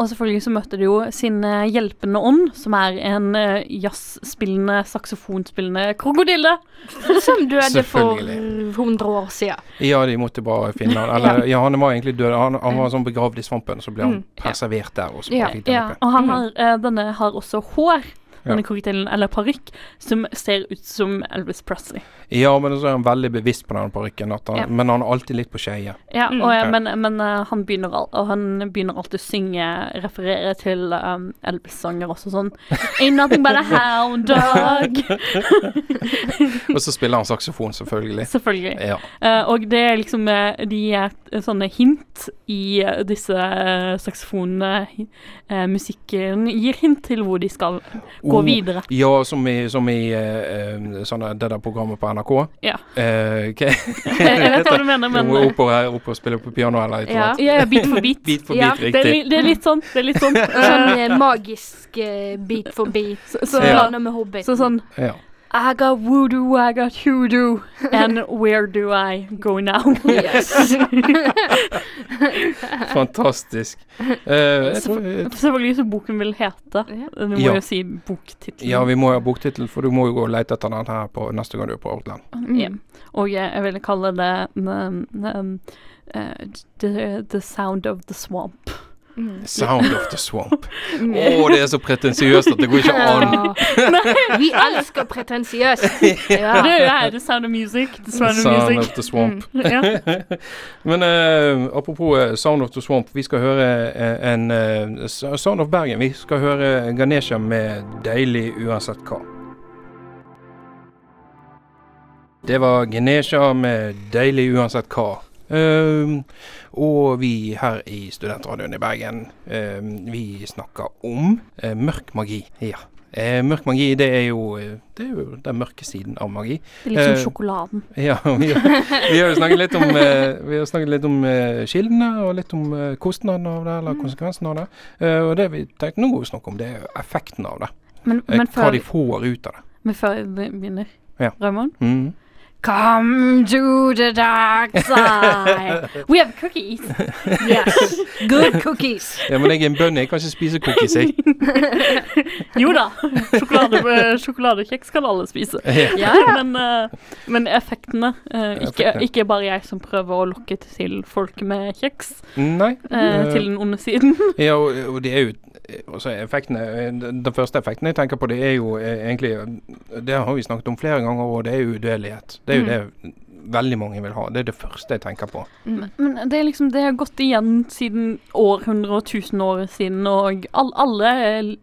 [SPEAKER 6] Og selvfølgelig så møter de jo sin eh, hjelpende ånd, som er en eh, jazzspillende, saksofonspillende krokodille.
[SPEAKER 5] Som døde for
[SPEAKER 3] Selvfølgelig.
[SPEAKER 5] 100 år siden.
[SPEAKER 3] Ja, de måtte bare finne han. Eller ja, han var egentlig død. Han, han var sånn begravd i svampen, så ble han
[SPEAKER 5] Mm,
[SPEAKER 3] preservert der. Og så
[SPEAKER 5] Ja,
[SPEAKER 3] bare fikk han
[SPEAKER 6] Ja,
[SPEAKER 3] oppe.
[SPEAKER 6] og han har, eh, denne har også hår. Denne
[SPEAKER 3] Ja.
[SPEAKER 6] krokodillen, eller parykk, som ser ut som Elvis Presley.
[SPEAKER 3] ja, men så er han veldig bevisst på den parykken, at han-
[SPEAKER 6] Ja.
[SPEAKER 3] men han er alltid litt på skeie.
[SPEAKER 6] Ja, og, eh,
[SPEAKER 3] Ja.
[SPEAKER 6] Men, men eh, han, begynner al og han begynner alltid å synge, referere til um, Elvis-sanger også, sånn Ain't nothing but a hound dog.
[SPEAKER 3] Og så spiller han saksofon, selvfølgelig.
[SPEAKER 6] Selvfølgelig.
[SPEAKER 3] Ja.
[SPEAKER 6] Eh, og det er liksom eh, De er et- sånne hint i eh, disse eh, saksofonene. hi- eh, musikken gir hint til hvor de skal gå
[SPEAKER 3] Oh.
[SPEAKER 6] videre.
[SPEAKER 3] Ja, som i, som i eh, eh, sånne, det der programmet på NRK.
[SPEAKER 6] Ja.
[SPEAKER 3] Eh, hva-
[SPEAKER 6] Jeg, jeg vet hva du mener, men eh,
[SPEAKER 3] Hun er oppe og, her, oppe og spiller på piano eller et eller
[SPEAKER 5] Ja.
[SPEAKER 3] annet.
[SPEAKER 6] ja, ja, bit for bit.
[SPEAKER 3] Bit for bit,
[SPEAKER 5] Ja,
[SPEAKER 6] Det er,
[SPEAKER 3] riktig.
[SPEAKER 6] li- det er litt sånn. Det er litt sånn.
[SPEAKER 5] Sånn eh, magisk eh, bit for bit.
[SPEAKER 6] Så, så,
[SPEAKER 3] Ja.
[SPEAKER 5] Blander med hobbit.
[SPEAKER 6] så sånn
[SPEAKER 3] Ja.
[SPEAKER 6] I got voodoo, I got hoodoo, and where do I go now?
[SPEAKER 5] Yes.
[SPEAKER 3] Fantastisk. Eh, jeg tror,
[SPEAKER 6] Selvfølgelig så boken vil hete. Du må
[SPEAKER 3] Ja.
[SPEAKER 6] jo si boktittelen. Ja. Og jeg, jeg ville kalle det um, um, uh, the, the Sound of the Swamp.
[SPEAKER 5] Mm.
[SPEAKER 3] Sound of the Swamp. Å, det er så pretensiøst at det går ikke an.
[SPEAKER 5] Ja. Vi elsker pretensiøst. Ja.
[SPEAKER 6] Det er jo her, The Sound of Music. The Sound of
[SPEAKER 3] Sound
[SPEAKER 6] Music. Mm.
[SPEAKER 3] of the Swamp.
[SPEAKER 6] Ja.
[SPEAKER 3] Men eh, apropos eh, Sound of the Swamp, vi skal høre eh, en eh, S- Sound of Bergen. Vi skal høre Ganesha med 'Deilig uansett hva'. Det var Ganesha med 'Deilig uansett hva'. Ehm, og vi her i Studentradioen i Bergen, ehm, vi snakker om eh, mørk magi. Ja. Eh, mørk magi, det er, jo, eh, det er jo den mørke siden av magi.
[SPEAKER 6] Det er litt som
[SPEAKER 3] Eh,
[SPEAKER 6] sjokoladen.
[SPEAKER 3] Ja, vi, vi har jo snakket litt om, eh, vi har snakket litt om eh, kildene og litt om eh, kostnadene av det,
[SPEAKER 6] Mm.
[SPEAKER 3] eller konsekvensene av det. Eh, og det vi tenkte nå å snakke om, det er jo effekten av det.
[SPEAKER 6] Men,
[SPEAKER 3] Eh,
[SPEAKER 6] men,
[SPEAKER 3] hva
[SPEAKER 6] før,
[SPEAKER 3] de får ut av det.
[SPEAKER 6] men før vi begynner,
[SPEAKER 3] Ja.
[SPEAKER 6] Raymond
[SPEAKER 3] Mm.
[SPEAKER 6] Come to the dark side. We have cookies.
[SPEAKER 5] Yes. Good cookies.
[SPEAKER 3] Ja, men jeg er en bønne, jeg kan ikke spise cookies, jeg.
[SPEAKER 6] Jo da, sjokolade, eh, sjokoladekjeks kan alle spise.
[SPEAKER 3] Ja.
[SPEAKER 6] Men, eh, men effektene eh, ikke,
[SPEAKER 3] Effektene.
[SPEAKER 6] ikke bare jeg som prøver å lokke til folk med kjeks
[SPEAKER 3] Nei.
[SPEAKER 6] eh, til den onde siden.
[SPEAKER 3] Ja, og, og det er jo og så er effektene, eh, Den den første effekten jeg tenker eh,
[SPEAKER 6] Mm.
[SPEAKER 3] på, det er jo eh, egentlig Det har vi snakket om flere ganger, og det er jo udødelighet. Det er jo det veldig mange vil ha. Det er det første jeg tenker på.
[SPEAKER 6] Men det er liksom, det har gått igjen siden århundrer og tusen år siden, og all, alle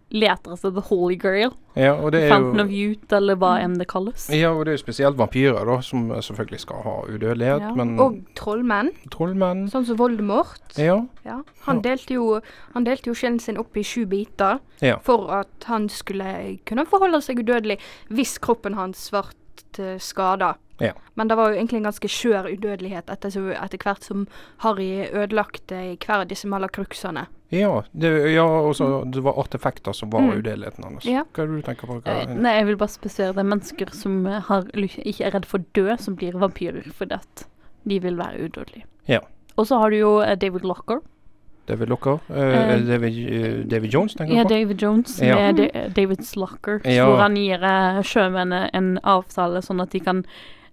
[SPEAKER 6] leter etter the holy grail.
[SPEAKER 3] Ja, og det er jo...
[SPEAKER 6] Fountain of youth, eller hva enn det kalles.
[SPEAKER 3] Ja, og det er jo spesielt vampyrer, da, som eh, selvfølgelig skal ha udødelighet,
[SPEAKER 6] Ja,
[SPEAKER 3] men
[SPEAKER 5] Og trollmenn,
[SPEAKER 3] trollmenn
[SPEAKER 5] sånn som Voldemort.
[SPEAKER 3] Ja.
[SPEAKER 5] Ja. Han, delte jo, han delte jo sjelen sin opp i sju biter
[SPEAKER 3] Ja.
[SPEAKER 5] for at han skulle kunne forholde seg udødelig hvis kroppen hans ble skada.
[SPEAKER 3] Ja.
[SPEAKER 5] Men det var jo egentlig en ganske skjør udødelighet etter, så- etter hvert som Harry ødelagte i hver av disse malakruksene.
[SPEAKER 3] ja, det, ja og
[SPEAKER 6] Mm.
[SPEAKER 3] så det var artefekter som var udødeligheten hans.
[SPEAKER 5] Ja.
[SPEAKER 3] Hva er det du tenker på? Hva?
[SPEAKER 6] Eh, Nei, jeg vil bare spesifisere det er mennesker som eh, har, ly- ikke er redd for død, som blir vampyrer fordi at de vil være udødelige.
[SPEAKER 3] Ja.
[SPEAKER 6] Og så har du jo eh, David Locker.
[SPEAKER 3] David Locker? eh,
[SPEAKER 6] Eh,
[SPEAKER 3] David, eh, David Jones, tenker
[SPEAKER 6] Ja,
[SPEAKER 3] du på?
[SPEAKER 6] David Jones
[SPEAKER 3] Ja.
[SPEAKER 6] med Da- eh, David's Locker.
[SPEAKER 3] Ja.
[SPEAKER 6] Hvor han gir eh, sjømennene en avtale sånn at de kan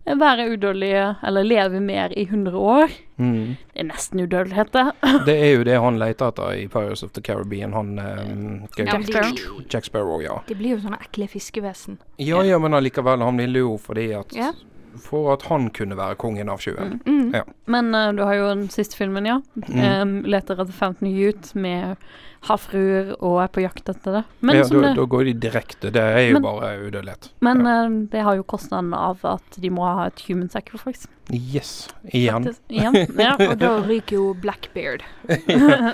[SPEAKER 6] eh, være udødelige eller leve mer i 100 år.
[SPEAKER 3] Mm.
[SPEAKER 6] Det er nesten udødelighet, det.
[SPEAKER 3] Det er jo det han leter etter i Pirates of the Caribbean, han eh,
[SPEAKER 5] Ja,
[SPEAKER 3] Jack,
[SPEAKER 5] Sparrow.
[SPEAKER 3] Jack Sparrow, ja.
[SPEAKER 5] De blir jo sånne ekle fiskevesen.
[SPEAKER 3] Ja, ja, men allikevel, han ville jo fordi at
[SPEAKER 5] Ja.
[SPEAKER 3] For at han kunne være kongen av sjøen.
[SPEAKER 5] Mm.
[SPEAKER 6] Men eh, du har jo den siste filmen, ja.
[SPEAKER 3] Mm.
[SPEAKER 6] Em, leter etter Fountain of Youth med havfruer og er på jakt etter det. Men,
[SPEAKER 3] ja,
[SPEAKER 6] som
[SPEAKER 3] da,
[SPEAKER 6] det,
[SPEAKER 3] da går de direkte. Det er jo
[SPEAKER 6] Men-
[SPEAKER 3] bare udødelighet.
[SPEAKER 6] men eh, det har jo kostnaden av at de må ha et human sacrifice.
[SPEAKER 3] Yes. Igjen.
[SPEAKER 6] Faktisk. Igjen. Ja,
[SPEAKER 5] Og da ryker jo Blackbeard.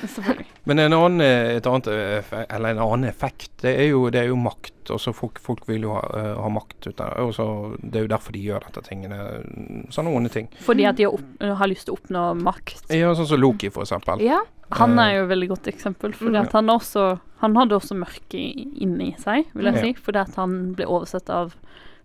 [SPEAKER 6] selvfølgelig.
[SPEAKER 3] Men en annen, eh, et annet, eh, fe- eller en annen effekt, det er jo, det er jo makt. Altså folk, folk vil jo ha, eh, ha makt. Ut av, det. Og så- det er jo derfor de gjør dette tingene. mm, Sånne onde ting.
[SPEAKER 6] Fordi at de har, opp, har lyst til å oppnå makt.
[SPEAKER 3] Ja, sånn som Loki, for eksempel.
[SPEAKER 5] Ja.
[SPEAKER 6] Han er
[SPEAKER 3] Eh,
[SPEAKER 6] jo et veldig godt eksempel, fordi at han også Han hadde også mørke i- inni seg, vil jeg
[SPEAKER 3] Ja.
[SPEAKER 6] si, fordi at han ble oversett av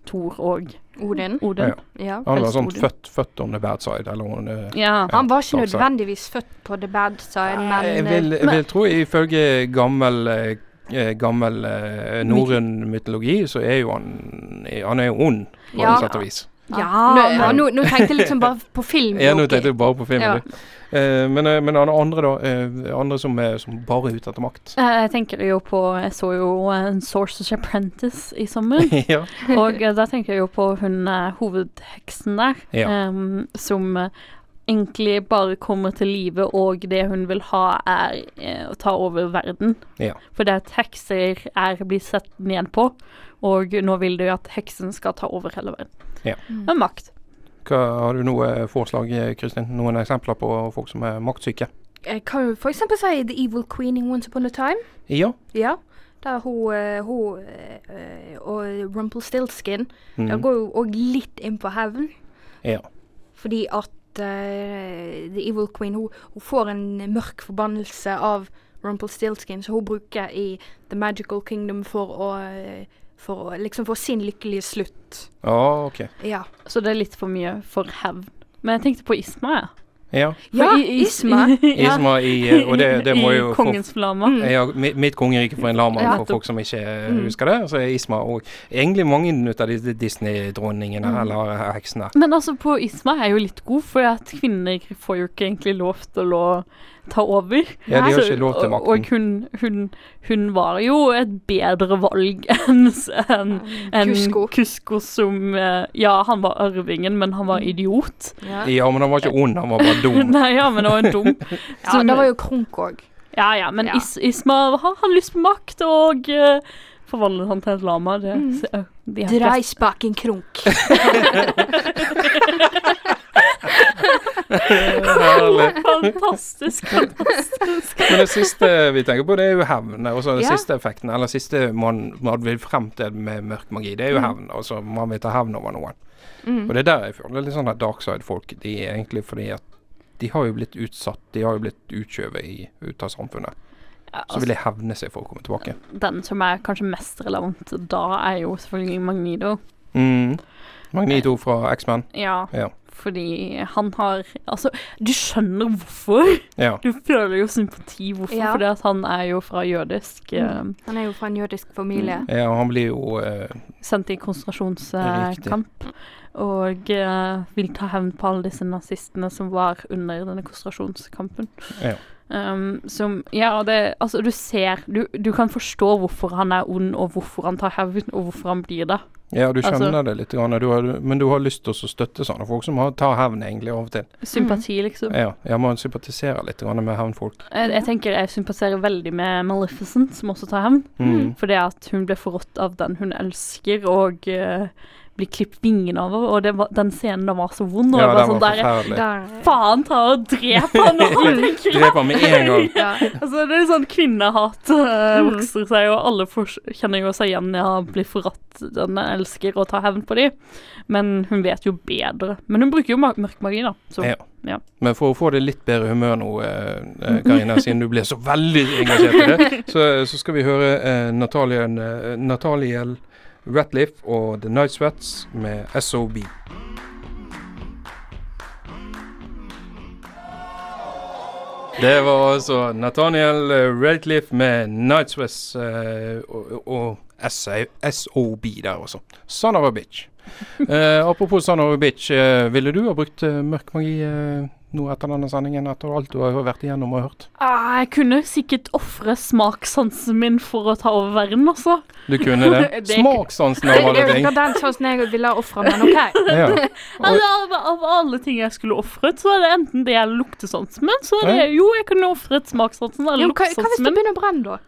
[SPEAKER 6] Thor og
[SPEAKER 5] Odin.
[SPEAKER 6] Odin.
[SPEAKER 5] Ja.
[SPEAKER 3] Han var
[SPEAKER 6] helst
[SPEAKER 3] sånn
[SPEAKER 6] Odin.
[SPEAKER 3] født, født on the bad side, eller eh. on the
[SPEAKER 6] Ja.
[SPEAKER 5] Han var ikke
[SPEAKER 3] Ja, altså.
[SPEAKER 5] nødvendigvis født på the bad side, men eh,
[SPEAKER 3] Jeg vil, jeg
[SPEAKER 6] men-
[SPEAKER 3] vil tro, ifølge gammel eh, eh, Gammel eh, norrøn mytologi, så er jo han Han er jo ond, på
[SPEAKER 5] Ja.
[SPEAKER 3] et sett og vis.
[SPEAKER 5] Ja,
[SPEAKER 7] Nå-
[SPEAKER 5] nå, nå, nå tenkte jeg liksom bare på film.
[SPEAKER 3] Ja, nå
[SPEAKER 5] Loki.
[SPEAKER 3] tenkte jeg bare på filmen.
[SPEAKER 5] Ja.
[SPEAKER 3] du. Eh, men, eh, men han andre, da. eh, andre som, er, som bare er ute etter makt.
[SPEAKER 6] Eh, Jeg tenker jo på Jeg så jo en Sources Apprentice i sommer.
[SPEAKER 3] ja.
[SPEAKER 6] Og eh, da tenker jeg jo på hun eh, hovedheksen der,
[SPEAKER 3] Ja.
[SPEAKER 6] em, som eh, egentlig bare kommer til live, og det hun vil ha er eh, å ta over verden.
[SPEAKER 3] Ja.
[SPEAKER 6] For det at hekser er blir sett ned på, og nå vil de jo at heksen skal ta over hele verden.
[SPEAKER 3] Ja.
[SPEAKER 5] Mm.
[SPEAKER 6] Med makt.
[SPEAKER 3] Hva, har du noe forslag, eh, Kristin? Noen eksempler på folk som er maktsyke?
[SPEAKER 5] Jeg kan jo for eksempel si The Evil Queen in Once Upon a Time.
[SPEAKER 3] Ja.
[SPEAKER 5] Ja. Der hun, eh, hun eh, og Rumpelstiltskin Der
[SPEAKER 3] Mm.
[SPEAKER 5] går jo òg litt inn på hevn,
[SPEAKER 3] ja.
[SPEAKER 5] fordi at eh, The Evil Queen hun, hun får en mørk forbannelse av Rumpelstiltskin, som hun bruker i The Magical Kingdom for å, eh, for å liksom få sin lykkelige slutt.
[SPEAKER 3] Ja, OK.
[SPEAKER 5] Ja.
[SPEAKER 6] Så det er litt for mye for hevn. Men jeg tenkte på Isma, ja.
[SPEAKER 3] Ja.
[SPEAKER 5] Ja,
[SPEAKER 6] For i- i-
[SPEAKER 5] Isma. Mm.
[SPEAKER 6] ja.
[SPEAKER 3] Isma i eh, Og det, det må
[SPEAKER 6] I
[SPEAKER 3] jo få-
[SPEAKER 6] Kongens flammer.
[SPEAKER 3] Ja, mi- mitt kongerike for en lama,
[SPEAKER 6] Ja.
[SPEAKER 3] for
[SPEAKER 6] Mm.
[SPEAKER 3] folk som ikke eh, husker det. Så er Isma og egentlig mange ut av disse Disney-dronningene
[SPEAKER 6] Mm.
[SPEAKER 3] eller heksene.
[SPEAKER 6] Men altså, på Isma er jeg jo litt god, for at kvinner får jo ikke egentlig lov til å ta over.
[SPEAKER 3] Ja, de har
[SPEAKER 6] Så-
[SPEAKER 3] ikke lov til
[SPEAKER 6] og-
[SPEAKER 3] makten.
[SPEAKER 6] Og hun, hun, hun var jo et bedre valg enn enn- enn
[SPEAKER 5] Kusko.
[SPEAKER 6] Kusko som eh, Ja, han var arvingen, men han var
[SPEAKER 5] Mm.
[SPEAKER 6] idiot.
[SPEAKER 5] Ja.
[SPEAKER 3] Ja, men han var ikke ond, han var bare dum.
[SPEAKER 6] Nei, ja, men han var dum.
[SPEAKER 5] ja, det var jo Krunk òg.
[SPEAKER 6] ja, ja, men
[SPEAKER 5] Ja.
[SPEAKER 6] Is Isma har han lyst på makt, og eh, forvandlet han til et lama. Det,
[SPEAKER 5] Mm.
[SPEAKER 6] så, de har flest-
[SPEAKER 5] Dreisbaken Krunk.
[SPEAKER 3] Herlig.
[SPEAKER 6] Fantastisk, fantastisk.
[SPEAKER 3] Men det siste vi tenker på, det er jo hevn. Og så den
[SPEAKER 5] Ja.
[SPEAKER 3] siste effekten, eller siste man, man vil frem til med mørk magi, det er jo hevn. Altså man vil ta hevn over noen. Og det er der jeg føler litt sånn at darkside-folk de er egentlig fordi at de har jo blitt utsatt, de har jo blitt utskjøvet i- ut av samfunnet.
[SPEAKER 6] Ja,
[SPEAKER 3] Så vil de hevne seg for å komme tilbake.
[SPEAKER 6] den som er kanskje mest relevant da, er jo selvfølgelig Magnido.
[SPEAKER 3] Mm. Magneto fra X-Man.
[SPEAKER 6] Ja,
[SPEAKER 3] Ja.
[SPEAKER 6] fordi han har Altså, du skjønner hvorfor.
[SPEAKER 3] Ja.
[SPEAKER 6] Du føler jo sympati hvorfor,
[SPEAKER 5] Ja.
[SPEAKER 6] fordi at han er jo fra jødisk eh,
[SPEAKER 5] Han er jo fra en jødisk familie.
[SPEAKER 3] ja, han blir jo eh,
[SPEAKER 6] Sendt i
[SPEAKER 3] Riktig.
[SPEAKER 6] konsentrasjonskamp. Og eh, vil ta hevn på alle disse nazistene som var under denne konsentrasjonskampen.
[SPEAKER 3] Ja.
[SPEAKER 6] Um, som Ja, og det Altså, du ser du, du kan forstå hvorfor han er ond, og hvorfor han tar hevn, og hvorfor han blir det.
[SPEAKER 3] Ja, du
[SPEAKER 6] Altså-
[SPEAKER 3] kjenner det litt, grann, du har, men du har lyst til å støtte sånne folk som har, tar hevn egentlig av og til.
[SPEAKER 6] Sympati, liksom.
[SPEAKER 3] Ja, ja man sympatiserer litt grann med hevnfolk.
[SPEAKER 6] Jeg, jeg tenker jeg sympatiserer veldig med Maleficent, som også tar hevn.
[SPEAKER 3] Mm.
[SPEAKER 6] Fordi at hun ble forrådt av den hun elsker, og eh, blir klippet vingene over. Og det var, den scenen da var så vond. Og
[SPEAKER 3] Ja, den
[SPEAKER 6] jeg
[SPEAKER 3] var
[SPEAKER 6] var sånn der
[SPEAKER 3] forferdelig.
[SPEAKER 5] Der,
[SPEAKER 6] Faen ta og drep han nå! tenker jeg.
[SPEAKER 3] Drep han med en gang.
[SPEAKER 5] ja.
[SPEAKER 6] Altså, det er sånn kvinnehat eh, vokser seg, og alle fors- kjenner jo seg igjen i å bli forrådt den jeg elsker, og ta hevn på dem. Men hun vet jo bedre. Men hun bruker jo ma- mørk magi, da. Så
[SPEAKER 3] Ja.
[SPEAKER 6] ja.
[SPEAKER 3] Men for å få det litt bedre humør nå, eh, eh, Karina, siden du ble så veldig engasjert i det, så, så skal vi høre eh, Natalien, eh, Nataliel Ratliff og The Night Sweats med SOB. Det var altså Nathaniel eh, Ratliff med Night Sweats eh, og, og SA SOB der også. Son of a bitch. Eh, apropos Son of a bitch, eh, ville du ha brukt eh, mørk magi eh, nå etter denne sendingen? Etter alt du har vært igjennom og hørt?
[SPEAKER 6] Ah, jeg kunne sikkert ofre smakssansen min for å ta over verden, altså.
[SPEAKER 3] Du kunne det.
[SPEAKER 6] Det-
[SPEAKER 3] Smakssansen
[SPEAKER 5] Det
[SPEAKER 3] av
[SPEAKER 5] det
[SPEAKER 3] alle
[SPEAKER 5] er jo
[SPEAKER 3] ting.
[SPEAKER 5] ikke den sånn jeg ville ha ofra, men OK.
[SPEAKER 3] Ja.
[SPEAKER 6] Altså, av, av alle ting jeg skulle ofret, så er det enten det eller luktesansen min. Så er det jo, jeg kunne ofret smakssansen eller
[SPEAKER 5] Jo, sånn hva, hva hvis
[SPEAKER 6] luktesansen
[SPEAKER 5] du
[SPEAKER 6] min.
[SPEAKER 5] begynner å brenne, da?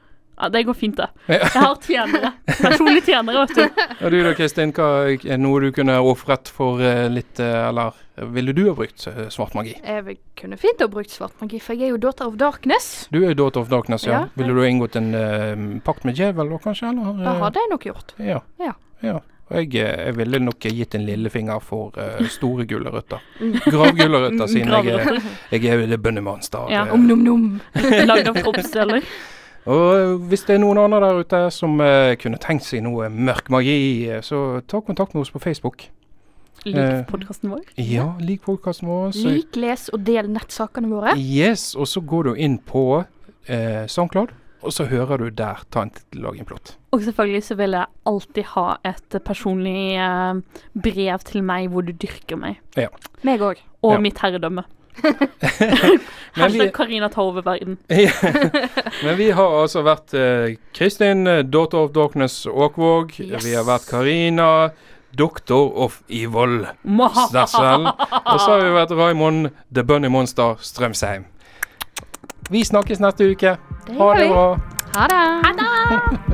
[SPEAKER 6] Ja, det går fint, det. Jeg har tjenere. Personlige tjenere, vet du.
[SPEAKER 3] Og du da, Kristin. Hva er noe du kunne ofret for eh, litt eh, Eller ville du ha brukt eh, svart magi?
[SPEAKER 5] Jeg vil- kunne fint ha brukt svart magi, for jeg er jo daughter of darkness.
[SPEAKER 3] Du er jo Daughter of Darkness, ja.
[SPEAKER 5] Ja.
[SPEAKER 3] Ville du ha inngått en eh, pakt med djevel da, kanskje? Eller?
[SPEAKER 5] Det
[SPEAKER 3] eh,
[SPEAKER 5] hadde jeg nok gjort.
[SPEAKER 3] Ja.
[SPEAKER 5] Ja.
[SPEAKER 3] ja. Og jeg, eh, jeg ville nok gitt en lillefinger for eh, store gulrøtter. Gravgulrøtter, siden jeg, er- jeg er det bønnemonster.
[SPEAKER 6] Ja,
[SPEAKER 3] eh.
[SPEAKER 5] Om-nom-nom.
[SPEAKER 6] Lagd av kroppsdeler.
[SPEAKER 3] Og eh, hvis det er noen andre der ute som eh, kunne tenkt seg noe mørk magi, eh, så ta kontakt med oss på Facebook. Eh.
[SPEAKER 6] Lik podkasten vår.
[SPEAKER 3] Ja, lik podkasten vår. så-
[SPEAKER 5] Lik, les og del nettsakene våre.
[SPEAKER 3] Yes, og så går du inn på eh, SoundCloud, og så hører du der ta en titt, lag en plott.
[SPEAKER 6] Og selvfølgelig så vil jeg alltid ha et personlig eh, brev til meg hvor du dyrker meg.
[SPEAKER 5] Meg òg.
[SPEAKER 6] Og
[SPEAKER 3] Ja.
[SPEAKER 6] mitt herredømme.
[SPEAKER 3] Men vi-
[SPEAKER 6] Hashtag Karina tar over verden.
[SPEAKER 3] Men vi har altså vært eh, Kristin, eh, Daughter of Darkness Åkvåg. Vi har vært Karina, Doctor of Evil Stassel. Og så har vi vært Raymond, The Bunny Monster Strømsheim. Vi snakkes neste uke. Ha det bra.
[SPEAKER 5] Ha det.
[SPEAKER 3] Ha det.